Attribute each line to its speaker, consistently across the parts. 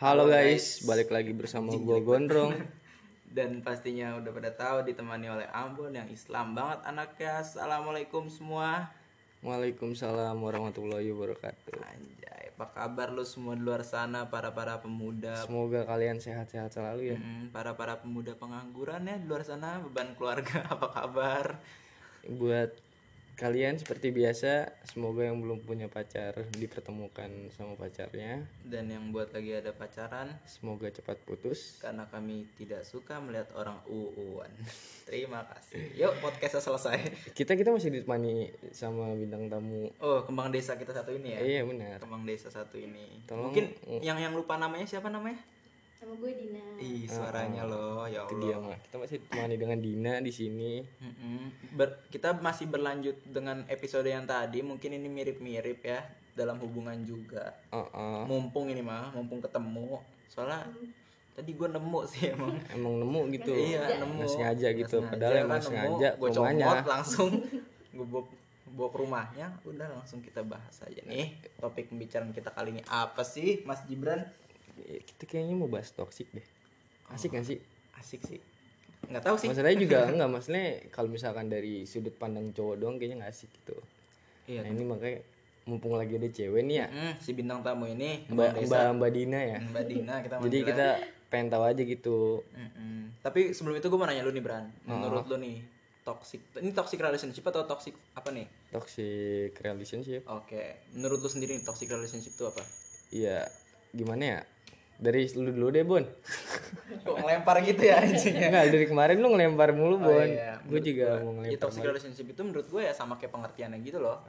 Speaker 1: Halo guys, balik lagi bersama gua Gondrong.
Speaker 2: dan pastinya udah pada tahu ditemani oleh Ambon yang Islam banget anaknya. Assalamualaikum semua.
Speaker 1: Waalaikumsalam warahmatullahi wabarakatuh.
Speaker 2: Anjay, apa kabar lu semua di luar sana para-para pemuda?
Speaker 1: Semoga kalian sehat-sehat selalu ya.
Speaker 2: Mm, Para-para pemuda pengangguran ya di luar sana, beban keluarga apa kabar?
Speaker 1: Buat kalian seperti biasa, semoga yang belum punya pacar dipertemukan sama pacarnya.
Speaker 2: Dan yang buat lagi ada pacaran
Speaker 1: Semoga cepat putus.
Speaker 2: karena kami tidak suka melihat orang uuan. Terima kasih. Yuk, podcastnya selesai.
Speaker 1: Kita kita masih ditemani sama bintang tamu.
Speaker 2: Oh, kembang desa kita satu ini ya.
Speaker 1: Eh, iya benar.
Speaker 2: Kembang desa satu ini.
Speaker 1: Tolong-
Speaker 2: Mungkin yang yang lupa namanya siapa namanya?
Speaker 3: Sama gue Dina.
Speaker 2: Ih, suaranya loh, ya Allah.
Speaker 1: Dia mah. Kita masih ditemani dengan Dina di sini.
Speaker 2: Mm-mm. Ber- kita masih berlanjut dengan episode yang tadi. Mungkin ini mirip-mirip ya dalam hubungan juga.
Speaker 1: Uh-uh.
Speaker 2: Mumpung ini mah, mumpung ketemu. Soalnya tadi gue nemu sih emang.
Speaker 1: Emang nemu gitu.
Speaker 2: iya, nemu.
Speaker 1: Nggak sengaja gitu. Padahal emang sengaja
Speaker 2: Gue
Speaker 1: rumahnya.
Speaker 2: comot langsung gue bawa, bawa ke rumahnya. Udah langsung kita bahas aja nih. Topik pembicaraan kita kali ini apa sih, Mas Gibran?
Speaker 1: Eh, Kita kayaknya mau bahas toksik deh.
Speaker 2: Oh.
Speaker 1: Asik gak sih?
Speaker 2: Asik sih. Nggak tahu sih.
Speaker 1: masalahnya juga enggak maksudnya kalau misalkan dari sudut pandang cowok doang kayaknya nggak asik gitu nah
Speaker 2: Iya.
Speaker 1: ini makanya mumpung lagi ada cewek nih ya
Speaker 2: Mm, si bintang tamu ini
Speaker 1: mbak
Speaker 2: Bang Desa.
Speaker 1: mbak mbak Dina ya
Speaker 2: Mbak Dina kita
Speaker 1: jadi
Speaker 2: manggilnya.
Speaker 1: kita pengen tahu aja gitu
Speaker 2: Mm-mm. Tapi sebelum itu gue mau nanya lu nih Bran.
Speaker 1: Oh.
Speaker 2: Menurut lu nih toxic ini toxic relationship atau toxic apa nih?
Speaker 1: toxic relationship
Speaker 2: Oke, menurut lu sendiri nih toxic relationship itu apa?
Speaker 1: ya gimana ya dari lu dulu deh Bon
Speaker 2: Kok ngelempar gitu ya anjingnya?
Speaker 1: enggak dari kemarin lu ngelempar mulu Bon
Speaker 2: iya.
Speaker 1: gue juga mau
Speaker 2: Ya
Speaker 1: ngelempar
Speaker 2: toxic relationship itu menurut gue ya sama kayak pengertiannya gitu loh.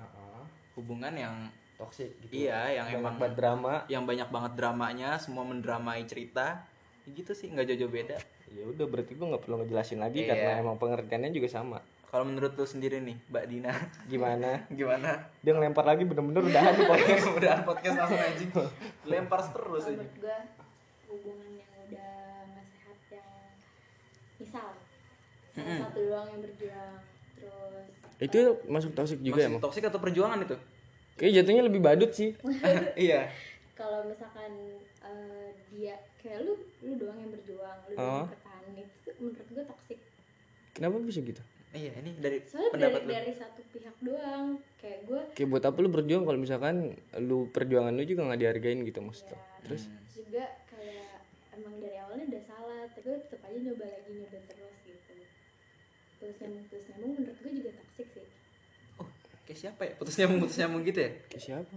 Speaker 2: Hubungan yang
Speaker 1: toxic gitu
Speaker 2: iya yang emang
Speaker 1: buat drama
Speaker 2: yang banyak banget dramanya, semua mendramai cerita. Ya Gitu sih, nggak jauh-jauh beda.
Speaker 1: ya udah berarti gue nggak perlu ngejelasin lagi
Speaker 2: Iya.
Speaker 1: karena emang pengertiannya juga sama
Speaker 2: Kalau menurut lu sendiri nih, Mbak Dina,
Speaker 1: gimana
Speaker 2: gimana?
Speaker 1: dia ngelempar lagi bener-bener udahan kok
Speaker 2: Mudah-mudahan podcast langsung anjing. Lempar terus
Speaker 3: Kalau
Speaker 2: aja.
Speaker 3: menurut gue hubungan yang udah nggak sehat yang misal salah satu doang yang berjuang terus
Speaker 1: itu masuk toxic juga
Speaker 2: Maksud
Speaker 1: emang
Speaker 2: toxic atau perjuangan itu?
Speaker 1: kayak jatuhnya lebih badut sih
Speaker 2: iya.
Speaker 3: kalau misalkan eh, dia kayak lu lu doang yang berjuang
Speaker 2: Oh.
Speaker 3: lu doang yang bertahan itu menurut gue toksik
Speaker 1: kenapa bisa gitu
Speaker 2: Iya, ini dari
Speaker 3: soalnya
Speaker 2: pendapat
Speaker 3: dari
Speaker 2: lu.
Speaker 3: dari satu pihak doang kayak gue
Speaker 1: kayak buat apa lu berjuang kalau misalkan lu perjuangan lu juga nggak dihargain gitu maksudnya terus
Speaker 3: terus juga kayak emang dari awalnya udah salah tapi lu tetap aja nyoba lagi nyoba terus gitu terus nyambung terus nyambung menurut gue juga toksik sih
Speaker 2: Oh, kayak siapa ya? Putus nyambung putus nyambung gitu ya?
Speaker 1: kayak siapa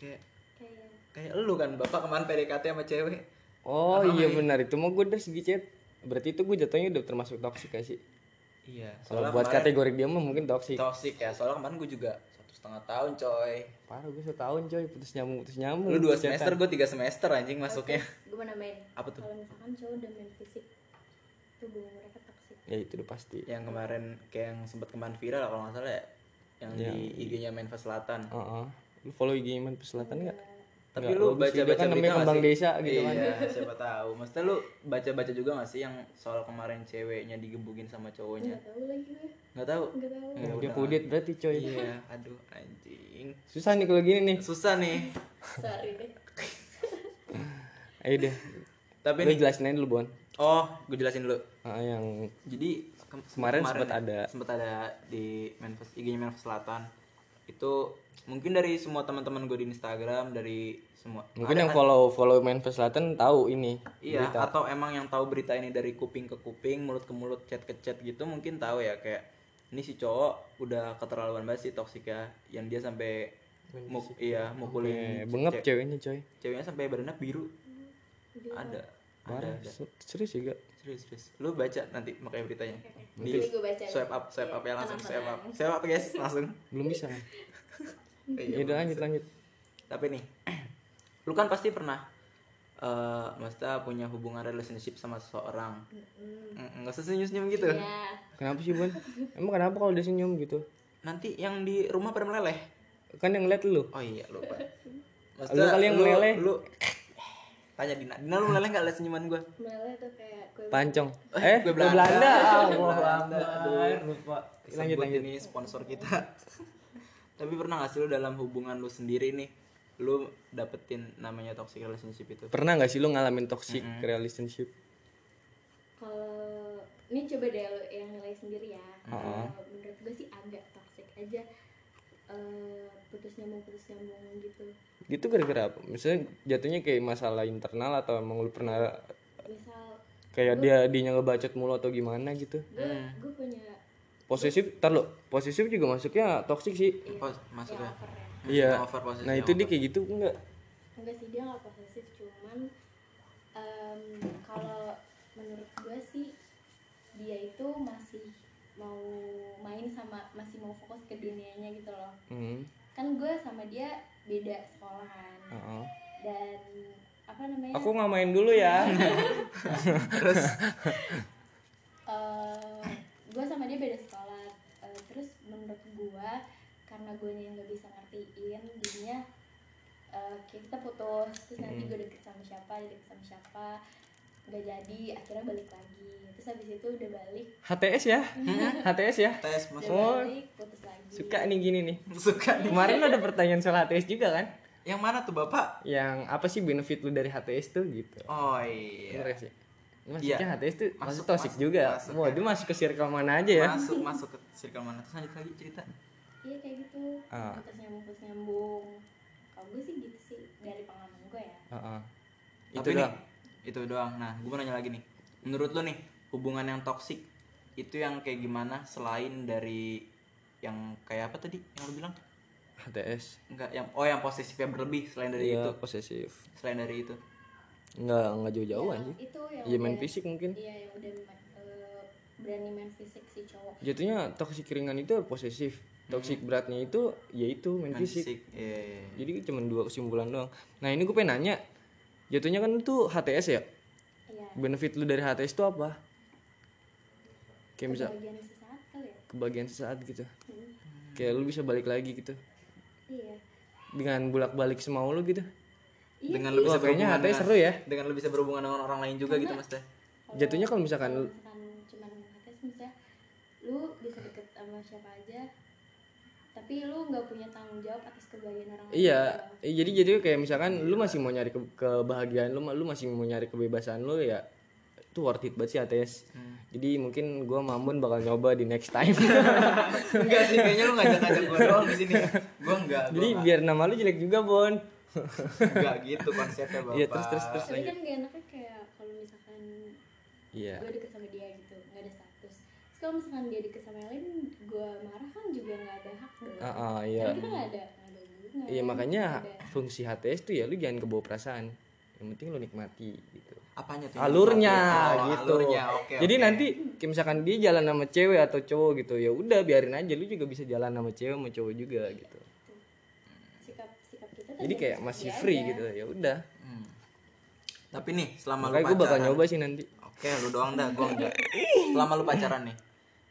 Speaker 2: Kayak
Speaker 3: kayak
Speaker 2: kayak lu kan bapak kemarin PDKT sama cewek.
Speaker 1: oh iya benar itu mau gue dari segi chat berarti itu gue jatuhnya udah termasuk toxic gak sih
Speaker 2: Iya.
Speaker 1: kalau
Speaker 2: Soalnya
Speaker 1: buat
Speaker 2: kemarin
Speaker 1: kategori dia mah mungkin toxic
Speaker 2: toxic ya. Soalnya kemarin gue juga satu setengah tahun coy.
Speaker 1: parah gue setahun coy putus nyambung putus nyambung
Speaker 2: Lu
Speaker 1: Oh,
Speaker 2: dua
Speaker 1: putus chatan.
Speaker 2: semester, gue tiga semester anjing masuknya.
Speaker 3: gue mau nambahin
Speaker 2: Apa tuh?
Speaker 3: kalau misalkan cowok udah main fisik itu hubungan mereka toksik
Speaker 1: ya itu udah pasti
Speaker 2: Yang kemarin kayak yang sempat kemarin viral kalau nggak salah ya. Yang
Speaker 1: Iya.
Speaker 2: di IG-nya Menfa Selatan.
Speaker 1: Heeh. lu follow IG Iman Selatan nggak
Speaker 2: Tapi
Speaker 1: Nggak, bagus
Speaker 2: lu
Speaker 1: sih. Dia
Speaker 2: baca-baca
Speaker 1: kan namanya
Speaker 2: berita nggak
Speaker 1: kembang
Speaker 2: sih?
Speaker 1: desa gitu kan.
Speaker 2: Iya, siapa tahu. Maksudnya lu baca-baca juga gak sih yang soal kemarin ceweknya digebukin sama cowoknya?
Speaker 3: nggak tahu lagi gue
Speaker 2: Nggak tahu.
Speaker 3: nggak tahu
Speaker 2: Ya
Speaker 1: Iya, dia
Speaker 2: udah.
Speaker 1: kudet berarti coy
Speaker 2: Iya, aduh anjing.
Speaker 1: susah nih kalau gini nih
Speaker 2: Susah nih.
Speaker 3: sorry deh
Speaker 1: ayo deh
Speaker 2: Tapi
Speaker 1: lu
Speaker 2: nih,
Speaker 1: jelasin aja dulu Bon
Speaker 2: oh, gue jelasin dulu.
Speaker 1: Ah, yang
Speaker 2: Jadi ke-
Speaker 1: Kemarin sempet ada.
Speaker 2: sempat ada di Manfest IG-nya Manfest Selatan. Itu mungkin dari semua teman-teman gue di Instagram, dari semua
Speaker 1: mungkin yang follow follow Manfest Selatan tahu ini
Speaker 2: Iya, atau emang yang tahu berita ini dari kuping ke kuping, mulut ke mulut, chat ke chat gitu mungkin tahu ya kayak ini si cowok udah keterlaluan banget sih toksik ya, yang dia sampai muk, iya mukulin
Speaker 1: Eh, bengep ceweknya coy
Speaker 2: ceweknya sampai badannya biru.
Speaker 3: Iya.
Speaker 2: Ada, ada,
Speaker 1: Parah,
Speaker 2: ada.
Speaker 1: se- serius juga
Speaker 2: Serius, serius. Lu baca nanti makanya beritanya. Di
Speaker 1: Iya.
Speaker 3: Nanti gue baca. Iya.
Speaker 2: swipe up, swipe up ya langsung swipe up. Swipe up guys, langsung.
Speaker 1: belum bisa kan
Speaker 2: Iya,
Speaker 1: ya udah lanjut lanjut
Speaker 2: Tapi nih, lu kan pasti pernah eh maksudnya punya hubungan relationship sama seseorang. Enggak usah senyum-senyum gitu.
Speaker 3: ya
Speaker 1: kenapa sih Bon emang kenapa kalau dia senyum gitu
Speaker 2: Nanti yang di rumah pada meleleh.
Speaker 1: kan yang ngeliat lu
Speaker 2: Oh iya, lupa.
Speaker 1: Lu kali yang meleleh.
Speaker 2: Lu tanya Dina, Dina lu meleleh enggak lihat senyuman gua?
Speaker 3: malah tuh kayak gue
Speaker 1: pancong eh
Speaker 2: Gue
Speaker 1: gue Belanda
Speaker 2: Gue
Speaker 1: Allah
Speaker 2: Belanda. Aduh, lupa.
Speaker 1: Lanjut,
Speaker 2: Lanjut, ini sponsor kita. Tapi pernah gak sih lu dalam hubungan lu sendiri nih lu dapetin namanya toxic relationship itu
Speaker 1: Pernah nggak sih lu ngalamin toxic relationship?
Speaker 3: kalau ini coba deh lo yang nilai sendiri ya
Speaker 1: Heeh.
Speaker 3: Kalau menurut gue sih agak toxic aja Eh, putus nyambung putus nyambung gitu
Speaker 1: Itu gara-gara apa? Misalnya jatuhnya kayak masalah internal atau emang lu pernah
Speaker 3: misal
Speaker 1: kayak dia dianya ngebacot mulu atau gimana gitu?
Speaker 3: gue
Speaker 2: Mm.
Speaker 3: gue punya
Speaker 1: Posesif, tar lu, posesif juga masuknya toxic sih.
Speaker 2: Pos- maksudnya
Speaker 3: over ya
Speaker 1: Iya.
Speaker 2: over posesif,
Speaker 1: Nah, itu dia kayak gitu enggak?
Speaker 3: enggak sih dia nggak posesif cuman em, kalau menurut gue sih dia itu masih mau main sama masih mau fokus ke dunianya gitu loh
Speaker 1: Hmm.
Speaker 3: kan gue sama dia beda sekolahan
Speaker 1: heeh.
Speaker 3: dan apa namanya
Speaker 1: Ah. Aku nggak main dulu ya.
Speaker 3: gue Eh, sama dia beda sekolah Eh, terus menurut gue karena gue yang nggak bisa ngertiin jadinya eh, kayak kita putus terus
Speaker 1: Hmm.
Speaker 3: nanti gue deket sama siapa deket sama siapa nggak jadi akhirnya balik lagi terus habis itu udah balik
Speaker 1: HTS ya? HTS ya?
Speaker 2: tes
Speaker 3: udah
Speaker 2: maksudnya
Speaker 1: Oh.
Speaker 3: balik putus lagi
Speaker 1: Suka nih gini nih.
Speaker 2: suka nih
Speaker 1: Kemarin lu ada pertanyaan soal HTS juga kan?
Speaker 2: yang mana tuh bapak
Speaker 1: Yang apa sih benefit lu dari HTS tuh gitu?
Speaker 2: oh iya
Speaker 1: Bener ya? gak sih? Maksudnya
Speaker 2: Iya.
Speaker 1: HTS tuh masuk
Speaker 2: Masuk-
Speaker 1: toxic
Speaker 2: masuk-
Speaker 1: juga.
Speaker 2: masuk,
Speaker 1: Mau
Speaker 2: ya.
Speaker 1: dia masuk ke circle mana aja ya?
Speaker 2: masuk masuk ke circle mana terus lanjut lagi cerita
Speaker 3: iya kayak gitu
Speaker 1: Ah.
Speaker 3: putus nyambung putus nyambung kalau gue sih gitu sih dari pengalaman gue ya
Speaker 1: Heeh. Itu
Speaker 2: Tapi nih,
Speaker 1: doang.
Speaker 2: itu doang nah gue mau nanya lagi nih menurut lo nih hubungan yang toksik itu yang kayak gimana selain dari yang kayak apa tadi yang lo bilang
Speaker 1: HTS.
Speaker 2: enggak yang oh yang posesifnya berlebih selain dari
Speaker 1: Iya,
Speaker 2: itu
Speaker 1: posesif.
Speaker 2: selain dari itu
Speaker 1: Enggak, enggak jauh-jauh
Speaker 3: Yang
Speaker 1: anjir.
Speaker 3: Ya, itu yang
Speaker 1: Iya main
Speaker 3: udah-
Speaker 1: fisik mungkin.
Speaker 3: iya yang udah ma- eh, berani main fisik si cowok
Speaker 1: Jatuhnya toxic ringan itu posesif. Toxic beratnya itu yaitu main
Speaker 2: Main
Speaker 1: fisik.
Speaker 2: Iya, iya, iya.
Speaker 1: Jadi cuma dua kesimpulan doang. Nah, ini gue pengen nanya. Jatuhnya kan itu HTS ya?
Speaker 3: iya
Speaker 1: Benefit lu dari HTS itu apa? Kayak misal
Speaker 3: bagian sesaat kali ya
Speaker 1: kebagian sesaat gitu.
Speaker 3: Hmm.
Speaker 1: Kayak lu bisa balik lagi gitu.
Speaker 3: iya
Speaker 1: Dengan bolak-balik semau lu gitu.
Speaker 3: Iya
Speaker 2: dengan lo bisa
Speaker 1: Wah, kayaknya
Speaker 2: berhubungan
Speaker 1: HTS
Speaker 2: dengan,
Speaker 1: seru ya.
Speaker 2: dengan lo bisa berhubungan dengan orang lain juga gitu mas teh
Speaker 1: Jatuhnya kalau misalkan
Speaker 3: kalau
Speaker 1: lu
Speaker 3: misalkan cuman ngetes misalnya lu bisa deket sama siapa aja tapi lu nggak punya tanggung jawab atas kebahagiaan orang lain
Speaker 1: Iya,
Speaker 3: gitu.
Speaker 1: eh, jadi jadi kayak misalkan lu masih mau nyari ke- kebahagiaan lu, lu masih mau nyari kebebasan lu ya itu worth it banget sih ATS.
Speaker 2: Hmm.
Speaker 1: Jadi mungkin gua Mamun bakal nyoba di next time.
Speaker 2: enggak sih kayaknya lo ngajak ngajak gue doang di sini gue enggak gue
Speaker 1: jadi biar nama lu jelek juga, Bon.
Speaker 2: enggak gitu konsepnya bapak
Speaker 1: Iya, terus terus
Speaker 2: Ah,
Speaker 1: terus
Speaker 3: tapi
Speaker 1: lanjut.
Speaker 3: kan gak enaknya kayak kalau misalkan
Speaker 1: Iya.
Speaker 3: gue deket sama dia gitu nggak ada status terus kalau misalkan dia deket sama yang lain gue marah kan juga nggak ada hak dong
Speaker 1: Ah, ah, iya.
Speaker 3: Karena kita nggak ada nggak ada hubungan
Speaker 1: Iya, makanya
Speaker 3: nggak ada-
Speaker 1: fungsi HTS tuh ya lu jangan kebawa perasaan. Yang penting lu nikmati gitu.
Speaker 2: apanya tuh
Speaker 1: Alurnya
Speaker 2: Oh,
Speaker 1: gitu.
Speaker 2: alurnya oke
Speaker 1: jadi
Speaker 2: oke.
Speaker 1: nanti kayak misalkan dia jalan sama cewek atau cowok gitu, ya udah biarin aja lu juga bisa jalan sama cewek sama cowok juga gitu.
Speaker 3: sikap sikap kita tuh
Speaker 1: Jadi
Speaker 3: ada
Speaker 1: kayak
Speaker 3: sama
Speaker 1: masih
Speaker 3: dia
Speaker 1: free
Speaker 3: aja.
Speaker 1: gitu. Ya udah.
Speaker 2: Hmm. Tapi nih, selama
Speaker 1: Makanya
Speaker 2: lu
Speaker 1: gue bakal
Speaker 2: pacaran.
Speaker 1: nyoba sih nanti.
Speaker 2: Oke, lu doang dah, gua enggak. Selama lu pacaran nih.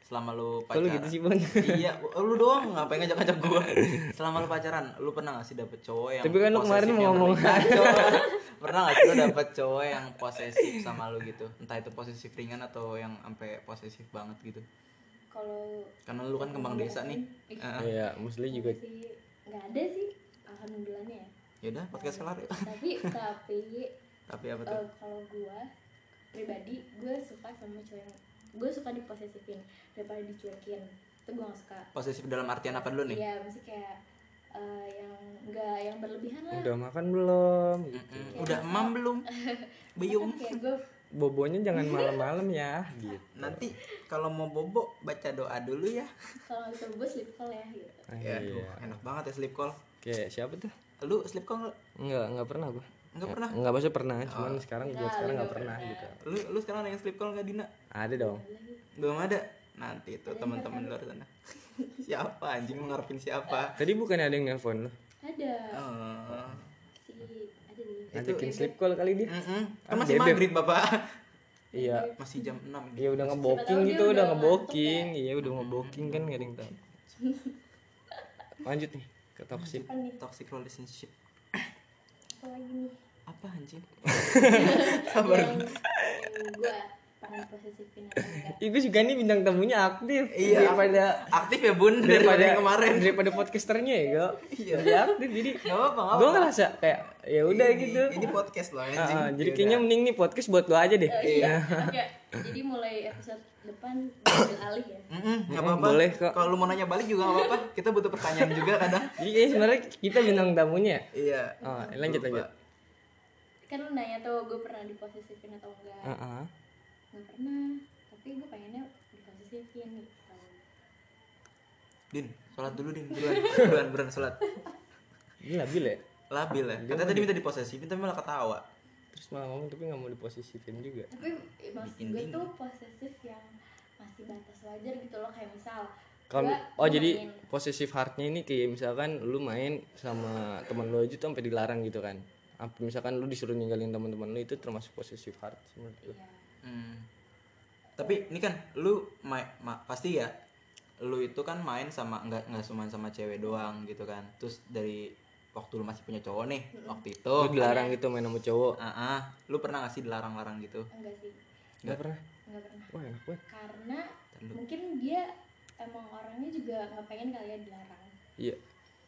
Speaker 2: Selama lu
Speaker 1: Kalau
Speaker 2: pacaran.
Speaker 1: gitu sih Bon.
Speaker 2: Iya, lu doang ngapain ngajak-ngajak gua. Selama lu pacaran, lu pernah gak sih dapet cowok yang
Speaker 1: Tapi kan lu kemarin
Speaker 2: posesifnya
Speaker 1: ngomong.
Speaker 2: berlebihan? pernah gak sih lu dapet cowok yang posesif sama lu gitu? Entah itu posesif ringan atau yang sampai posesif banget gitu.
Speaker 3: kalau
Speaker 2: Karena lu kan kembang desa nih. Heeh.
Speaker 1: Iya, Musli juga.
Speaker 3: sih nggak ada sih alhamdulillahnya ya
Speaker 2: Yaudah, podcast kelar yuk.
Speaker 3: tapi tapi
Speaker 2: Tapi apa tuh?
Speaker 3: eh, kalau gue pribadi gue suka sama cowok yang gue suka diposesifin daripada dicuekin itu gue gak suka
Speaker 2: Posesif dalam artian apa dulu nih?
Speaker 3: iya mesti kayak eh, yang nggak yang berlebihan lah
Speaker 1: Udah makan belum? Gitu.
Speaker 2: Mm-mm. Udah emam belum? Belum.
Speaker 3: Kan kayak gue
Speaker 1: Bobonya jangan
Speaker 2: Iya.
Speaker 1: malam-malam ya. Gitu.
Speaker 2: Nanti kalau mau bobo baca doa dulu ya.
Speaker 3: kalau nggak bisa gue sleep call ya gitu
Speaker 1: Ah, iya.
Speaker 2: Ya, aduh, enak banget ya sleep call.
Speaker 1: Kayak siapa tuh?
Speaker 2: Lu sleep call nggak?
Speaker 1: Enggak, enggak pernah gua.
Speaker 2: Enggak pernah. Oh.
Speaker 1: Enggak maksudnya pernah, cuman sekarang buat sekarang
Speaker 3: Enggak, lu
Speaker 1: enggak
Speaker 3: enggak
Speaker 1: pernah
Speaker 3: pernah.
Speaker 1: gitu.
Speaker 2: Lu lu sekarang ada yang sleep call nggak Dina?
Speaker 1: Ada dong.
Speaker 2: Belum ada. Nanti tuh teman-teman luar sana. siapa anjing lu ngarepin siapa?
Speaker 1: Tadi bukannya ada yang nelpon lu?
Speaker 3: ada
Speaker 2: Eh,
Speaker 3: si ada nih
Speaker 1: Ngajakin sleep call kali dia.
Speaker 2: mm-mm. Kan
Speaker 1: Ah,
Speaker 2: masih
Speaker 1: bebek.
Speaker 2: maghrib bapak.
Speaker 1: Iya.
Speaker 2: Masih jam 6
Speaker 1: Iya udah ngeboking
Speaker 3: tahu dia
Speaker 1: gitu, udah
Speaker 3: udah
Speaker 1: ngeboking.
Speaker 2: ya.
Speaker 1: Iya udah ngeboking kan enggak ada yang tahu. Lanjut nih ke toxic.
Speaker 3: apa nih
Speaker 2: Toxic relationship.
Speaker 3: apa lagi nih
Speaker 2: Apa anjing?
Speaker 3: yang, yang gue peran posesifin atau enggak
Speaker 1: Itu juga nih bintang tamunya aktif.
Speaker 2: Iya.
Speaker 1: Daripada
Speaker 2: aktif ya bun dari
Speaker 1: daripada
Speaker 2: yang kemarin
Speaker 1: daripada podcasternya ya, Gak. Iya. Dia aktif jadi
Speaker 2: nggak apa nggak
Speaker 1: gue ngerasa kayak ya udah gitu.
Speaker 4: Ini podcast loh
Speaker 1: Ah,
Speaker 4: anjing.
Speaker 1: ah,
Speaker 2: Ya
Speaker 1: jadi
Speaker 2: Iya,
Speaker 1: kayaknya mending nih podcast buat lo aja deh.
Speaker 3: Eh, iya oke jadi mulai episode depan diambil alih ya
Speaker 2: Mm-mm, nggak
Speaker 1: Mm-mm,
Speaker 2: apa-apa.
Speaker 1: boleh kok.
Speaker 2: Kalau lu mau nanya balik juga nggak apa-apa. Kita butuh pertanyaan juga kadang.
Speaker 1: Jadi kayaknya sebenarnya kita bintang tamunya.
Speaker 4: Iya.
Speaker 1: Oh, lanjut lanjut.
Speaker 3: kan lu nanya tuh gue pernah diposesifin atau enggak
Speaker 1: Ah, ah.
Speaker 3: nggak pernah tapi gue pengennya diposesifin gitu
Speaker 2: Din, sholat dulu din. Buruan, buruan, buruan sholat.
Speaker 1: Gila bil ya.
Speaker 2: Labil ya. Katanya tadi minta diposesifin tapi malah ketawa.
Speaker 1: Terus malah ngomong tapi nggak mau diposisifin juga.
Speaker 3: tapi eh, maksud
Speaker 2: Bikin
Speaker 3: gue
Speaker 2: bingung.
Speaker 3: tuh posesif yang masih batas wajar gitu loh kayak misal
Speaker 1: Kalau
Speaker 3: gua
Speaker 1: oh jadi
Speaker 3: main-
Speaker 1: posesif heartnya ini kayak misalkan lu main sama teman lu aja tuh sampai dilarang gitu kan. Sampai misalkan lu disuruh ninggalin teman-teman lu itu termasuk posesif heart menurut gue.
Speaker 3: iya.
Speaker 2: Hmm. Tapi ini kan lu ma- ma- pasti ya lu itu kan main sama nggak nggak cuma sama cewek doang gitu kan. Terus dari waktu lu masih punya cowok nih waktu itu.
Speaker 1: Lu dilarang gitu main sama cowok.
Speaker 2: Ah, ah. lu pernah ngasih dilarang-larang gitu?
Speaker 3: enggak sih
Speaker 1: Enggak pernah.
Speaker 3: enggak pernah
Speaker 1: Wah, enak banget.
Speaker 3: karena
Speaker 2: Terlalu-
Speaker 3: mungkin dia emang orangnya juga nggak pengen kalian dilarang
Speaker 1: Iya.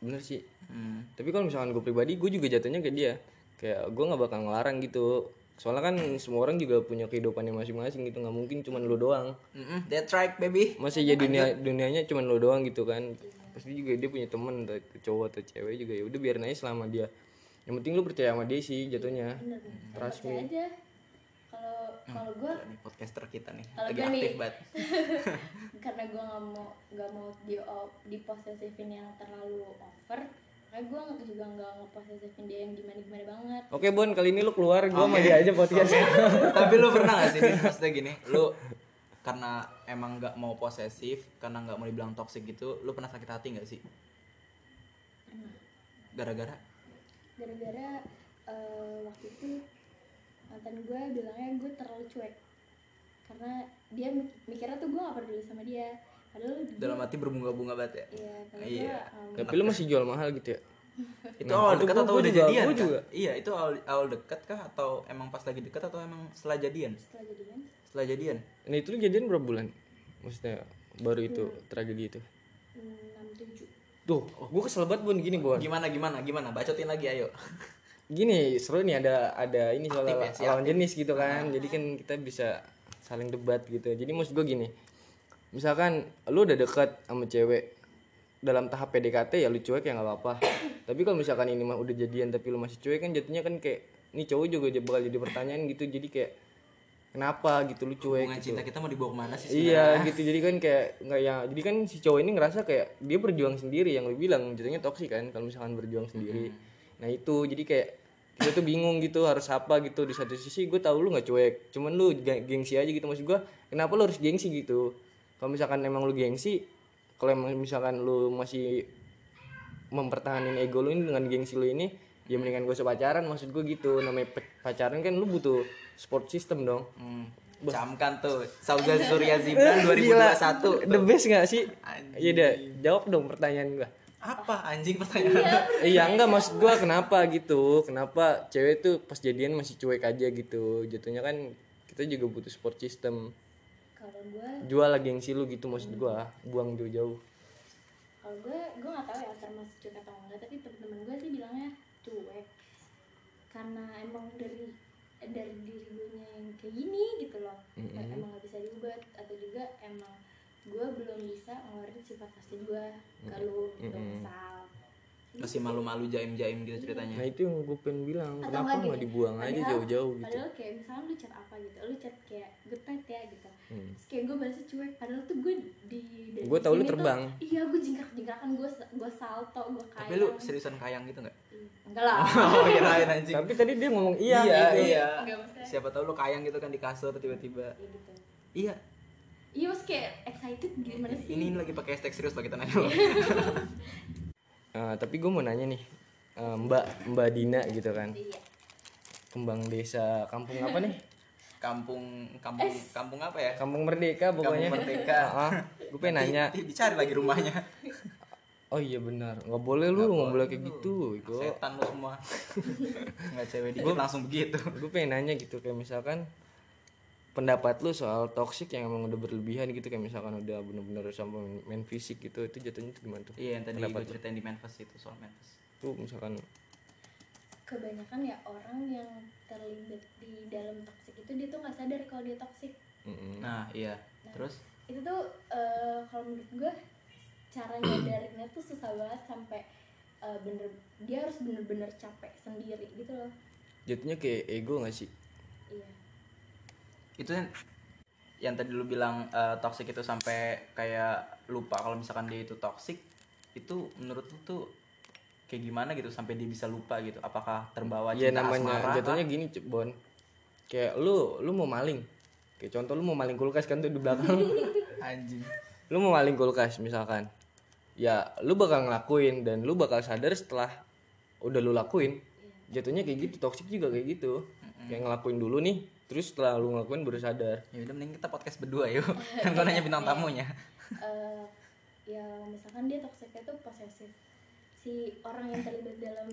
Speaker 1: Bener sih.
Speaker 2: Hmm.
Speaker 1: Tapi kalau misalkan gue pribadi, gue juga jatuhnya ke dia. Kayak gue nggak bakal ngelarang gitu. Soalnya kan semua orang juga punya kehidupannya masing-masing gitu. Nggak mungkin cuman lu doang.
Speaker 2: Mm-mm, that's right baby.
Speaker 1: Masih ya dunia dunianya cuman lu doang gitu kan. Pasti juga dia punya temen entah itu cowok atau cewek juga ya udah biarin aja selama dia. Yang penting lu percaya sama dia sih jatuhnya.
Speaker 3: bener bener trust aja kalau kalau gue
Speaker 2: Ini podcaster kita nih
Speaker 3: Kalau
Speaker 2: lagi
Speaker 3: gue nih-
Speaker 2: aktif banget.
Speaker 3: karena gue nggak mau nggak mau di diposesifin yang terlalu over karena gue juga nggak ngeposesifin dia yang gimana gimana banget
Speaker 1: Oke Bon, kali ini lu keluar, gue sama dia aja podcast.
Speaker 2: Tapi lu pernah gak sih Din? maksudnya gini, lu karena emang nggak mau posesif, karena nggak mau dibilang toxic gitu, lu pernah sakit hati nggak sih? Gara-gara?
Speaker 3: gara-gara eh, waktu itu mantan gue bilangnya gue terlalu cuek karena dia mik- mikirnya tuh gue gak peduli sama dia padahal dia-
Speaker 2: Dalam hati berbunga-bunga banget ya.
Speaker 3: iya padahal
Speaker 2: Iya.
Speaker 3: gue
Speaker 1: Tapi lu masih jual mahal gitu ya.
Speaker 2: Itu
Speaker 1: Nah,
Speaker 2: awal
Speaker 1: itu
Speaker 2: dekat
Speaker 1: gua-
Speaker 2: atau
Speaker 1: gua
Speaker 2: udah
Speaker 1: juga-
Speaker 2: jadian?
Speaker 1: gua
Speaker 2: Kak?
Speaker 1: juga.
Speaker 2: Iya, itu awal awal dekat kah atau emang pas lagi dekat atau emang setelah jadian?
Speaker 3: setelah jadian
Speaker 2: Setelah jadian.
Speaker 1: Nah itu lu jadian berapa bulan? Maksudnya baru itu tragedi itu.
Speaker 3: enam tujuh
Speaker 1: Tuh, gue kesel banget Bon gini Bon.
Speaker 2: Gimana gimana gimana? Bacotin lagi ayo.
Speaker 1: gini seru nih ada ada ini soal
Speaker 2: Aktif Ah. ya, si
Speaker 1: lawan jenis gitu kan jadi kan kita bisa saling debat gitu jadi maksud gue gini misalkan lu udah deket sama cewek dalam tahap PDKT ya lu cuek ya nggak apa-apa tapi kalau misalkan ini mah udah jadian tapi lu masih cuek kan jatuhnya kan kayak ini cowok juga j- bakal jadi pertanyaan gitu jadi kayak kenapa gitu lu cuek
Speaker 2: Hubungan
Speaker 1: gitu.
Speaker 2: cinta kita mau dibawa kemana sih? sebenarnya?
Speaker 1: Iya gitu jadi kan kayak nggak ya jadi kan si cowok ini ngerasa kayak dia berjuang sendiri yang lu bilang jadinya toksik kan kalau misalkan berjuang sendiri. Nah itu jadi kayak gue tuh bingung gitu harus apa gitu di satu sisi gue tahu lu nggak cuek cuman lu geng- gengsi aja gitu maksud gue kenapa lu harus gengsi gitu kalau misalkan emang lu gengsi kalau emang misalkan lu masih mempertahankan ego lu ini dengan gengsi lu ini ya mendingan gue pacaran maksud gue gitu namanya pe- pacaran kan lu butuh support system dong
Speaker 2: Hmm, Camkan tuh Sauza Surya Zibran 2021.
Speaker 1: The best gak sih?
Speaker 2: Anjing.
Speaker 1: Iya deh, jawab dong pertanyaan gua.
Speaker 2: Apa anjing pertanyaan?
Speaker 1: Iya enggak maksud gua kenapa gitu? Kenapa cewek tuh pas jadian masih cuek aja gitu? Jatuhnya kan kita juga butuh support system.
Speaker 3: kalau gue
Speaker 1: Jual lagi gengsi lu gitu maksud gua, buang jauh-jauh.
Speaker 3: kalau gue gue nggak tahu ya termasuk cuek atau enggak tapi temen-temen gue sih bilangnya cuek karena emang dari eh, dari diri gue yang kayak gini gitu loh emang nggak bisa diubah atau juga emang gue belum bisa ngeluarin sifat asli gue ke lu gitu misal
Speaker 2: Masih malu-malu jaim-jaim gitu ceritanya.
Speaker 1: Nah itu yang gue pengen bilang,
Speaker 3: Atau
Speaker 1: kenapa
Speaker 3: enggak
Speaker 1: nggak
Speaker 3: gini,
Speaker 1: dibuang aja
Speaker 3: padahal-
Speaker 1: jauh-jauh gitu?
Speaker 3: padahal kayak misalnya lu chat apa gitu lu chat kayak getet ya gitu Terus kayak gue balasnya cuek padahal tuh gue di dari
Speaker 1: Gua Mm. tahu lu
Speaker 3: sini tuh,
Speaker 1: terbang.
Speaker 3: iya gue jingkrak jingkrakan gue gue salto gue kayak
Speaker 2: Tapi lu seriusan kayang gitu nggak?
Speaker 3: enggak lah
Speaker 2: Oh kirain anjing.
Speaker 1: Tapi tadi dia ngomong iya,
Speaker 2: iya,
Speaker 1: gitu.
Speaker 2: iya.
Speaker 3: Nggak maksudnya.
Speaker 2: Siapa tahu lu kayang gitu kan di kasur tiba-tiba.
Speaker 3: Ya gitu
Speaker 2: Iya.
Speaker 3: iya mas kayak excited gitu. gimana sih
Speaker 2: Ini, ini lagi pakai hashtag serius pakai tanya lu.
Speaker 1: Eh, tapi gue mau nanya nih, eh, Mbak Mbak Dina gitu kan,
Speaker 3: iya
Speaker 1: kembang desa kampung apa nih?
Speaker 2: Kampung kampung kampung apa ya?
Speaker 1: Kampung Merdeka pokoknya.
Speaker 2: Kampung Merdeka.
Speaker 1: gue pengen nanya.
Speaker 2: Nanti dicari lagi rumahnya.
Speaker 1: Oh iya benar, nggak boleh lu nggak boleh kayak gitu. Gue
Speaker 2: Setan lu semua. Enggak cewek dikit langsung begitu.
Speaker 1: gue pengen nanya gitu kayak misalkan pendapat lu soal toxic yang emang udah berlebihan gitu kayak misalkan udah bener-bener sampai main, main fisik gitu itu jatuhnya tuh gimana tuh?
Speaker 2: Iya yang tadi
Speaker 1: Pendapat
Speaker 2: gue
Speaker 1: lu.
Speaker 2: ceritain di Memphis itu soal Memphis.
Speaker 1: Tuh misalkan
Speaker 3: kebanyakan ya orang yang terlibat di dalam toksik itu dia tuh nggak sadar kalau dia toksik
Speaker 1: mm-mm.
Speaker 2: Nah iya. Terus
Speaker 3: itu tuh eh, kalau menurut gue cara nyadarinnya tuh susah banget sampai eh, bener dia harus bener-bener capek sendiri gitu loh
Speaker 1: jatuhnya kayak ego gak sih?
Speaker 3: iya
Speaker 2: itu yang, yang tadi lu bilang eh, toxic itu sampai kayak lupa kalau misalkan dia itu toxic itu menurut lu tuh kayak gimana gitu sampai dia bisa lupa gitu apakah terbawa
Speaker 1: Iya
Speaker 2: cinta
Speaker 1: namanya
Speaker 2: asmara
Speaker 1: jatuhnya gini Cep, Bon. Kayak lu lu mau maling. Kayak contoh lu mau maling kulkas kan tuh di belakang.
Speaker 2: anjing
Speaker 1: lu mau maling kulkas misalkan. Ya lu bakal ngelakuin dan lu bakal sadar setelah udah lu lakuin. Jatuhnya kayak gitu, toksik juga kayak gitu. Kayak ngelakuin dulu nih, terus setelah lu ngelakuin baru sadar.
Speaker 2: ya udah mending kita podcast berdua yuk kan gua nanya bintang tamunya
Speaker 3: Eh, ya misalkan dia toksiknya tuh posesif si orang yang terlibat dalam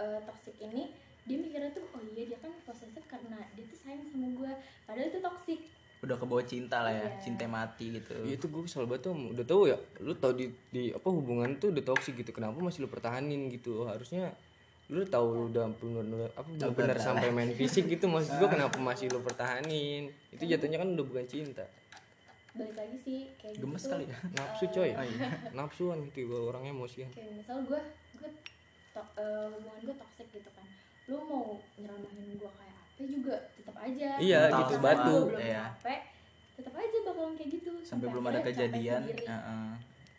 Speaker 3: eh, toksik ini dia mikirnya tuh oh iya dia kan posesif karena dia tuh sayang sama gue padahal itu toksik
Speaker 2: udah kebawa cinta lah ya
Speaker 3: Iya.
Speaker 2: cinta mati gitu
Speaker 1: Ya itu gue kesel banget tuh, udah tahu ya, lu tau di, di apa hubungan tuh udah toksik gitu, kenapa masih lu pertahanin gitu? Harusnya lu udah tahu lu udah bener, apa bener sampai main fisik gitu, maksud gue kenapa masih lu pertahanin? Itu jatuhnya kan udah bukan cinta,
Speaker 3: balik lagi sih kayak
Speaker 2: gemes iya.
Speaker 3: gitu tuh,
Speaker 2: kali ya
Speaker 1: nafsu coy, nafsuan gitu gue orang emosian.
Speaker 3: kayak misal gue gue to- eh, hubungan gue toxic gitu kan lu mau nyeramahin gue kayak apa juga tetap aja
Speaker 1: Iya,
Speaker 3: Sampai
Speaker 1: gitu,
Speaker 3: gua
Speaker 1: batu.
Speaker 3: belum
Speaker 2: Iya.
Speaker 3: capek tetap aja bakalan kayak gitu
Speaker 2: sampai belum ada
Speaker 3: akhirnya capek
Speaker 2: kejadian
Speaker 3: sendiri. Gitu.
Speaker 2: Heeh.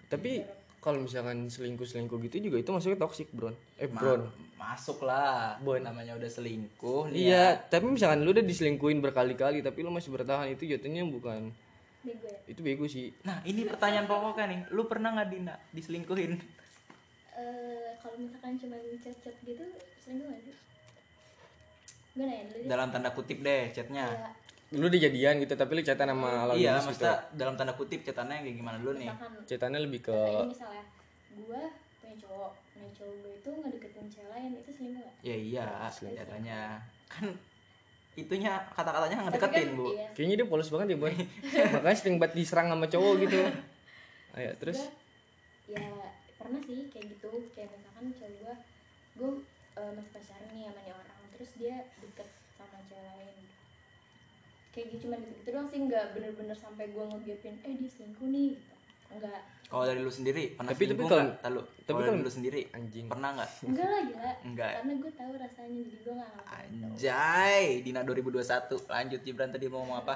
Speaker 1: Tapi kalau misalkan selingkuh selingkuh gitu juga itu masuknya toksik bro, eh
Speaker 2: Ma-
Speaker 1: bro.
Speaker 2: masuk lah
Speaker 1: Bon.
Speaker 2: namanya udah selingkuh nih ya.
Speaker 1: Iya, tapi misalkan lu udah diselingkuin berkali-kali, tapi lu masih bertahan itu jatuhnya bukan
Speaker 3: bego ya
Speaker 1: itu bego sih.
Speaker 2: Nah, ini pertanyaan pokoknya nih. Lu pernah nggak Dina diselingkuhin?
Speaker 3: Eh, kalau misalkan cuma chat-chat gitu sering gak sih gue nanya dulu deh
Speaker 2: Dalam tanda kutip deh chatnya.
Speaker 3: kayak
Speaker 1: Lu udah jadian gitu, tapi lu catatan sama lawan jenis
Speaker 2: iya,
Speaker 1: gitu. Iya.
Speaker 2: maksudnya dalam tanda kutip chatannya kayak gimana dulu nih? Ya
Speaker 3: misalkan
Speaker 1: Ceritanya lebih ke
Speaker 3: kayak ini misalnya gue punya cowok nah cowok gue itu ngedeketin cewek lain itu selingkuh gak?
Speaker 2: Ya iya, catatannya. Kan itunya kata-katanya ngedeketin, Bu.
Speaker 3: iya
Speaker 1: kayaknya dia polos banget ya, Boy. Makanya sering banget diserang sama cowok gitu. Ayo, Ya, terus
Speaker 3: Gua, ya pernah sih kayak gitu kayak misalkan cowok gue gue masih pacaran nih sama nih orang terus dia deket sama cewek lain kayak gitu cuma deket gitu doang sih nggak bener-bener sampai gue ngegapin eh dia selingkuh nih gitu. nggak
Speaker 2: Kalau dari lu sendiri pernah
Speaker 1: Tapi- tapi
Speaker 2: selingkuh
Speaker 1: kalau-
Speaker 2: nggak? Tar lu.
Speaker 1: tapi
Speaker 2: Kalau
Speaker 1: kalau-
Speaker 2: dari lu sendiri
Speaker 1: anjing.
Speaker 2: pernah nggak?
Speaker 3: enggak lah gila
Speaker 2: Enggak.
Speaker 3: karena gue tahu rasanya jadi gue nggak ngelakuin itu
Speaker 2: Anjay, Dina 2021. Lanjut Gibran tadi mau ngomong apa?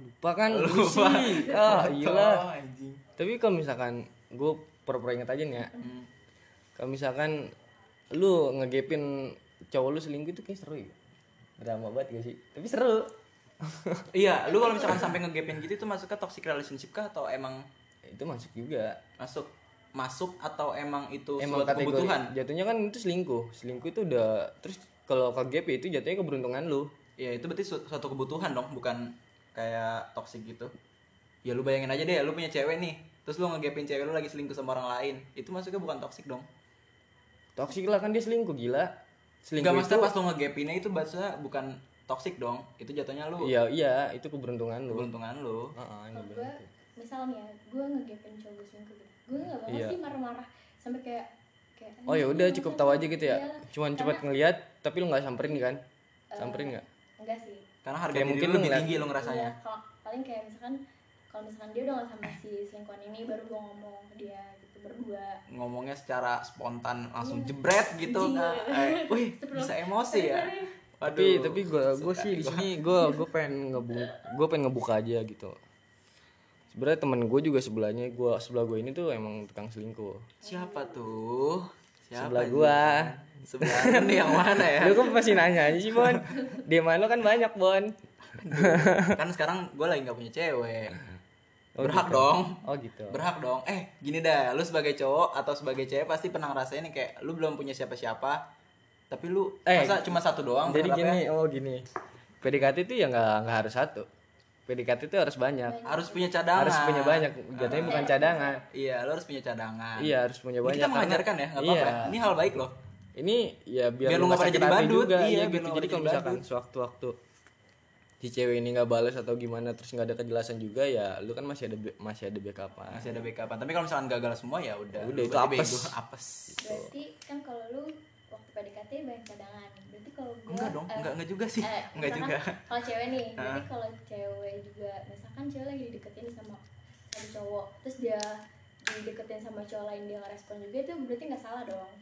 Speaker 1: Lupa kan lupa. Ah, gila.
Speaker 2: Oh, anjing.
Speaker 1: Tapi kalau misalkan gue pura-pura inget aja nih ya.
Speaker 2: Hmm.
Speaker 1: Kalau misalkan lu ngegepin cowok lu selingkuh itu kayak seru ya. Drama banget gak sih? Tapi seru.
Speaker 2: Iya, lu kalau misalkan sampai ngegapin gitu itu masuknya toxic relationship kah atau emang
Speaker 1: itu masuk juga.
Speaker 2: masuk masuk atau emang itu
Speaker 1: Emang
Speaker 2: suatu
Speaker 1: kategori
Speaker 2: kebutuhan
Speaker 1: jatuhnya kan itu selingkuh. Selingkuh itu udah terus kalau ke gap ya itu jatuhnya keberuntungan lu.
Speaker 2: ya itu berarti su- suatu kebutuhan dong bukan kayak toxic gitu ya lu bayangin aja deh lu punya cewek nih terus lu ngegapin cewek lu lagi selingkuh sama orang lain itu masuknya bukan toxic dong
Speaker 1: Toksik lah kan dia selingkuh gila.
Speaker 2: enggak
Speaker 1: Selingkuh itu
Speaker 2: maksudnya pas lu ngegapinnya itu bahasa bukan toxic dong itu jatuhnya lu
Speaker 1: Iya iya itu keberuntungan lu.
Speaker 2: keberuntungan lu
Speaker 1: Heeh, ini
Speaker 3: kalau gue
Speaker 1: bener.
Speaker 3: misalnya ya, gue ngegapin cowok gue selingkuh gitu gue nggak bakal
Speaker 1: Iya.
Speaker 3: sih marah-marah sampai kayak kayak
Speaker 1: Oh ya udah cukup tahu aja gitu ya.
Speaker 3: Iya.
Speaker 1: Cuman cepat ngelihat tapi lu nggak samperin kan? Samperin nggak?
Speaker 3: enggak sih
Speaker 2: karena harga
Speaker 1: Kayak
Speaker 2: diri
Speaker 1: mungkin
Speaker 2: lu
Speaker 1: lu
Speaker 2: lebih
Speaker 1: ngeliat-
Speaker 2: tinggi lu ngerasanya
Speaker 3: Iya, kalau paling kayak misalkan kalau misalkan dia udah gak sama si selingkuhan ini baru gue ngomong ke dia gitu berdua
Speaker 2: ngomongnya secara spontan langsung jebret gitu kan eh, wih bisa emosi ya Waduh,
Speaker 1: Tapi tapi gue gue
Speaker 2: suka.
Speaker 1: sih di sini gue gue pengen ngebuka gue pengen ngebuka aja gitu. Sebenarnya temen gue juga sebelahnya gua sebelah gue ini tuh emang tukang selingkuh.
Speaker 2: Siapa tuh? Siapa
Speaker 1: Sebelah
Speaker 2: ini?
Speaker 1: gua.
Speaker 2: Sebelah lu nih yang mana ya?
Speaker 1: Lu kok pasti nanya aja sih Bon? Di mana lu kan banyak Bon?
Speaker 2: kan sekarang gua lagi nggak punya cewek. Berhak dong.
Speaker 1: Oh gitu.
Speaker 2: Berhak dong. Eh, gini dah, lu sebagai cowok atau sebagai cewek pasti pernah ngerasain nih kayak lu belum punya siapa-siapa. Tapi lu
Speaker 1: Eh,
Speaker 2: masa cuma satu doang
Speaker 1: Jadi gini,
Speaker 2: berharapnya?
Speaker 1: oh gini. PDKT itu ya nggak nggak harus satu. PDKT itu harus banyak.
Speaker 2: harus punya cadangan.
Speaker 1: Harus punya banyak. Jatuhnya bukan cadangan.
Speaker 2: Iya, lu harus punya cadangan.
Speaker 1: Iya harus punya
Speaker 2: Ini
Speaker 1: banyak.
Speaker 2: kita
Speaker 1: karena-
Speaker 2: mengajarkan ya, nggak apa-apa.
Speaker 1: Iya.
Speaker 2: Ini hal baik loh.
Speaker 1: Ini ya biar,
Speaker 2: Biar lu
Speaker 1: lu
Speaker 2: nggak
Speaker 1: nggak
Speaker 2: pada
Speaker 1: sakit
Speaker 2: jadi
Speaker 1: hati
Speaker 2: badut.
Speaker 1: Juga.
Speaker 2: Iya,
Speaker 1: Iya,
Speaker 2: biar lu
Speaker 1: gitu.
Speaker 2: nggak
Speaker 1: Jadi
Speaker 2: pada
Speaker 1: kalau
Speaker 2: jadi
Speaker 1: misalkan
Speaker 2: badut.
Speaker 1: sewaktu-waktu si cewek ini nggak balas atau gimana terus nggak ada kejelasan juga ya lu kan masih ada be- masih ada backupan
Speaker 2: masih ada backupan tapi kalau misalkan gagal semua ya udah
Speaker 1: udah,
Speaker 2: Lu
Speaker 1: itu
Speaker 2: berarti
Speaker 1: apes.
Speaker 2: bego, apes
Speaker 3: berarti kan kalau lu waktu PDKT banyak cadangan berarti kalau gua
Speaker 2: enggak dong
Speaker 3: eh,
Speaker 2: enggak enggak juga sih
Speaker 3: eh,
Speaker 2: enggak
Speaker 3: misalkan
Speaker 2: juga
Speaker 3: kalau cewek nih berarti
Speaker 2: Ah.
Speaker 3: kalau cewek juga misalkan cewek lagi dideketin sama sama cowok terus dia dideketin sama cowok lain dia nggak respon juga itu berarti nggak salah dong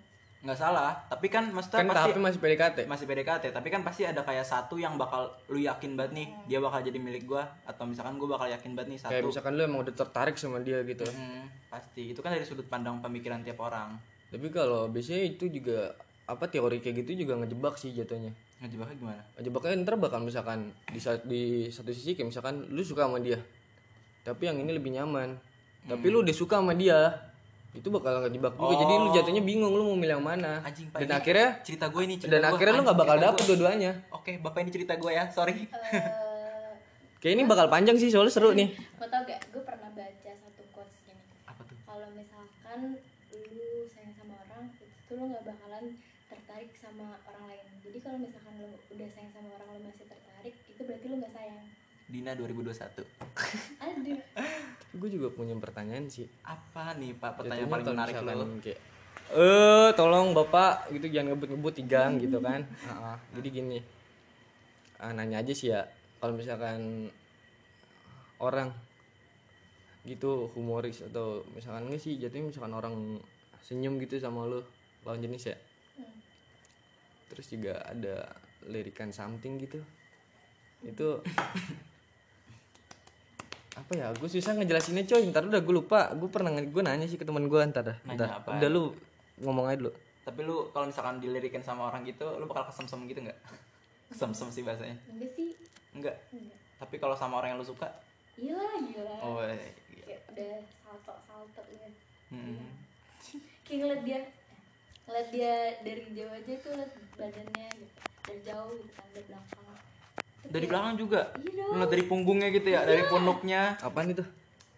Speaker 2: enggak salah tapi kan maksudnya
Speaker 1: kan
Speaker 2: pasti
Speaker 1: tapi masih PDKT
Speaker 2: masih PDKT tapi kan pasti ada kayak satu yang bakal lu yakin banget nih dia bakal jadi milik gua atau misalkan gua bakal yakin banget nih
Speaker 1: kayak
Speaker 2: satu
Speaker 1: misalkan lu emang udah tertarik sama dia gitu
Speaker 2: Hmm, pasti itu kan dari sudut pandang pemikiran tiap orang
Speaker 1: tapi kalau biasanya itu juga apa teori kayak gitu juga ngejebak sih jatuhnya
Speaker 2: ngejebaknya gimana
Speaker 1: ngejebaknya kan ntar bakal misalkan di, sa- di satu sisi kayak misalkan lu suka sama dia tapi yang ini lebih nyaman tapi
Speaker 2: Hmm.
Speaker 1: lu udah suka sama dia itu bakal ngejebak juga jadi
Speaker 2: Oh.
Speaker 1: lu jatuhnya bingung lu mau milih yang mana
Speaker 2: Anjing, Pak,
Speaker 1: dan
Speaker 2: ini
Speaker 1: akhirnya
Speaker 2: cerita gue ini cerita
Speaker 1: dan
Speaker 2: gua.
Speaker 1: akhirnya lu nggak
Speaker 2: Anjing,
Speaker 1: bakal
Speaker 2: cerita
Speaker 1: dapet
Speaker 2: gua.
Speaker 1: dua-duanya
Speaker 2: oke bapak ini cerita gue ya sorry
Speaker 3: Eh,
Speaker 1: kayak ini bakal panjang sih soalnya seru nih
Speaker 3: mau tau gak gue pernah baca satu quotes gini
Speaker 2: apa tuh
Speaker 3: kalau misalkan lu sayang sama orang itu tuh lu nggak bakalan tertarik sama orang lain jadi kalau misalkan lu udah sayang sama orang lu masih tertarik itu berarti lu nggak sayang
Speaker 2: Dina 2021
Speaker 3: aduh
Speaker 1: gue juga punya pertanyaan sih
Speaker 2: apa nih
Speaker 1: Jatuhnya
Speaker 2: pak pertanyaan paling
Speaker 1: kalau
Speaker 2: menarik
Speaker 1: misalkan
Speaker 2: lu
Speaker 1: kayak, eh tolong bapak gitu jangan ngebut-ngebut tigang gitu kan Ah, ah. jadi gini Ah, nanya aja sih ya kalau misalkan orang gitu humoris atau misalkan enggak sih jatuhnya misalkan orang senyum gitu sama lu lawan jenis ya
Speaker 3: Hmm.
Speaker 1: terus juga ada lirikan something gitu itu apa ya gue susah ngejelasinnya coy ntar udah gue lupa gue pernah gue nanya sih ke teman gue ntar dah
Speaker 2: Nanya
Speaker 1: ntar
Speaker 2: apaan?
Speaker 1: udah lu ngomong aja dulu
Speaker 2: tapi lu kalau misalkan dilirikin sama orang gitu lu bakal kesemsem gitu nggak kesemsem sih bahasanya
Speaker 3: enggak sih
Speaker 2: enggak
Speaker 3: enggak
Speaker 2: tapi kalau sama orang yang lu suka
Speaker 3: iya lah gila
Speaker 2: oh eh, iya.
Speaker 3: kayak udah salto salto gitu
Speaker 2: Hmm.
Speaker 3: kayak ngeliat dia ngeliat dia dari jauh aja tuh liat badannya gitu dari jauh gitu kan dari belakang Tuh
Speaker 2: dari
Speaker 3: kayak-
Speaker 2: belakang juga
Speaker 3: iya
Speaker 2: Lu
Speaker 3: dong
Speaker 2: ngeliat dari punggungnya gitu ya
Speaker 3: Iya.
Speaker 2: dari punuknya
Speaker 1: apaan itu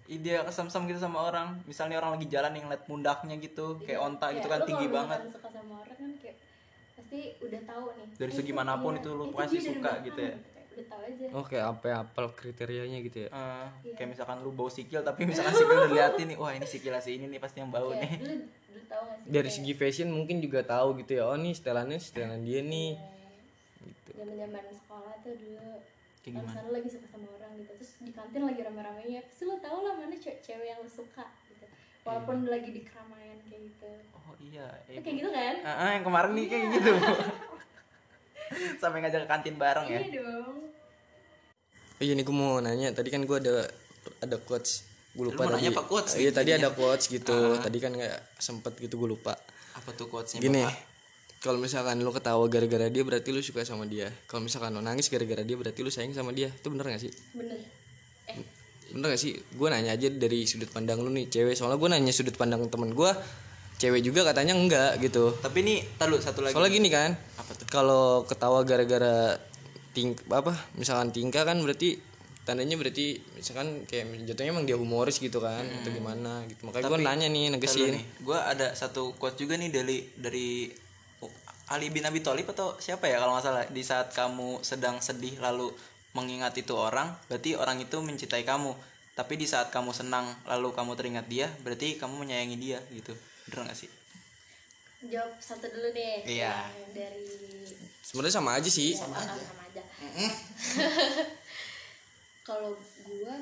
Speaker 2: Ih, dia kesemsem gitu sama orang misalnya orang lagi jalan yang ngeliat pundaknya gitu kayak
Speaker 3: Iya.
Speaker 2: onta gitu
Speaker 3: Kayak
Speaker 2: kan
Speaker 3: lu
Speaker 2: tinggi
Speaker 3: kalau
Speaker 2: banget
Speaker 3: misalkan suka sama orang kan kayak pasti udah tahu nih
Speaker 2: Dari
Speaker 3: eh,
Speaker 2: segi
Speaker 3: itu
Speaker 2: manapun
Speaker 3: dia,
Speaker 2: itu lu
Speaker 3: dia
Speaker 2: pasti
Speaker 3: dari
Speaker 2: suka
Speaker 3: belakang
Speaker 2: gitu ya.
Speaker 3: kayak udah tahu aja
Speaker 1: oke Oh, apa ya, apel kriterianya gitu ya
Speaker 2: Eh,
Speaker 3: Iya.
Speaker 2: kayak misalkan lu bau sikil tapi misalkan sikil udah liatin nih wah ini sikil si ini nih pasti yang bau
Speaker 3: kayak
Speaker 2: nih
Speaker 3: dulu dulu tahu nggak sih
Speaker 1: dari
Speaker 3: kayak,
Speaker 1: segi fashion mungkin juga tahu gitu ya oh nih setelannya setelan dia nih gitu
Speaker 3: eh, zaman-zaman sekolah tuh dulu
Speaker 2: kayak
Speaker 3: kalau
Speaker 2: gimana
Speaker 3: misalnya lu lagi suka sama orang gitu terus di kantin lagi rame-ramenya pasti lu tahu lah mana cewek, cewek yang lu suka gitu
Speaker 2: Iya.
Speaker 3: walaupun lagi di keramaian kayak gitu
Speaker 2: oh iya
Speaker 3: Lu
Speaker 2: eh,
Speaker 3: kayak gitu kan
Speaker 2: Ah, ah, yang kemarin nih
Speaker 3: Iya.
Speaker 2: kayak gitu. Sampai ngajak ke kantin bareng ya.
Speaker 3: iya dong
Speaker 1: Oh, Iya nih gue mau nanya tadi kan gue ada ada quotes gue lupa
Speaker 2: Lu mau
Speaker 1: tadi.
Speaker 2: nanya apa quotes Ah.
Speaker 1: Iya
Speaker 2: nih?
Speaker 1: tadi ada quotes gitu. Tadi kan nggak sempet gitu gue lupa.
Speaker 2: Apa tuh quotesnya?
Speaker 1: Gini kalau misalkan lu ketawa gara-gara dia berarti lu suka sama dia. Kalau misalkan lu nangis gara-gara dia berarti lu sayang sama dia. Itu bener gak sih?
Speaker 3: bener eh
Speaker 1: Bener gak sih? Gue nanya aja dari sudut pandang lu nih cewek. Soalnya gue nanya sudut pandang temen gue cewek juga katanya enggak gitu.
Speaker 2: Tapi nih, tar lu, satu lagi.
Speaker 1: Soalnya gini kan, kalau ketawa gara-gara ting apa misalkan tingkah kan berarti tandanya berarti misalkan kayak jatuhnya emang dia humoris gitu kan
Speaker 2: Hmm.
Speaker 1: atau gimana gitu. Makanya gue nanya nih
Speaker 2: Tar lu
Speaker 1: negesin.
Speaker 2: nih. Gua ada satu quotes juga nih dari dari Ali bin Abi Thalib atau siapa ya kalau nggak salah di saat kamu sedang sedih lalu mengingat itu orang berarti orang itu mencintai kamu tapi di saat kamu senang lalu kamu teringat dia berarti kamu menyayangi dia gitu bener gak sih
Speaker 3: jawab satu dulu deh
Speaker 2: Iya.
Speaker 3: yang dari
Speaker 1: Sebenarnya sama aja sih.
Speaker 3: sama aja, sama aja. kalau gua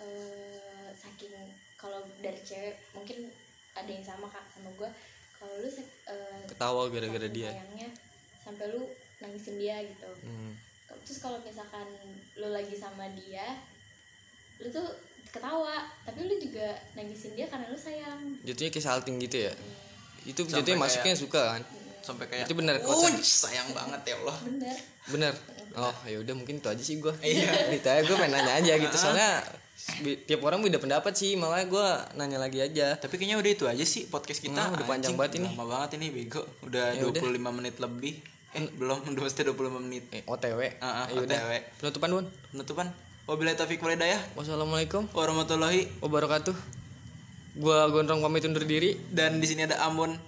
Speaker 3: eh, saking kalau dari cewek mungkin ada yang sama kak sama gua kalau lu sak- eh,
Speaker 1: Ketawa gara-gara
Speaker 3: saking
Speaker 1: dia.
Speaker 3: sayangnya sampai lu nangisin dia gitu
Speaker 1: Hmm.
Speaker 3: terus kalau misalkan lu lagi sama dia lu tuh ketawa tapi lu juga nangisin dia karena lu sayang
Speaker 1: Jatuhnya kayak salting gitu ya. Itu
Speaker 2: Sampai
Speaker 1: jatuhnya
Speaker 2: kayak-
Speaker 1: masuknya suka kan.
Speaker 2: sampai kayak
Speaker 1: Itu bener
Speaker 2: "Uy,
Speaker 1: quotesnya.
Speaker 2: sayang banget ya Allah
Speaker 3: bener
Speaker 1: Bener. Oh, ya udah mungkin itu aja sih gue. Iya. Ditanya gue pengen nanya aja
Speaker 2: Ah.
Speaker 1: gitu. Soalnya bi- tiap orang beda pendapat sih. Makanya gue nanya lagi aja.
Speaker 2: Tapi kayaknya udah itu aja sih podcast kita.
Speaker 1: Nah, udah panjang
Speaker 2: Anjing,
Speaker 1: banget ini. Ya
Speaker 2: Lama banget ini bego. Udah 25 menit lebih. Eh, belum mesti 25 menit.
Speaker 1: Eh, OTW.
Speaker 2: Ah, ah,
Speaker 1: Ya Hmm. udah.
Speaker 2: OTW.
Speaker 1: Penutupan, Wan.
Speaker 2: Penutupan. Wabillahi taufiq wal hidayah.
Speaker 1: Wassalamualaikum
Speaker 2: Warahmatullahi.
Speaker 1: wabarakatuh. Gua Gondrong pamit undur diri.
Speaker 2: Dan di sini ada Ambon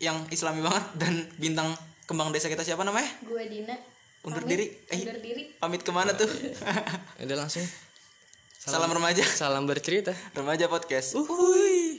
Speaker 2: yang islami banget dan bintang kembang desa kita siapa namanya?
Speaker 3: gue Dina
Speaker 2: undur diri eh
Speaker 3: Undur diri.
Speaker 2: pamit kemana tuh
Speaker 1: Udah langsung
Speaker 2: salam remaja
Speaker 1: salam bercerita.
Speaker 2: remaja podcast Uhuy.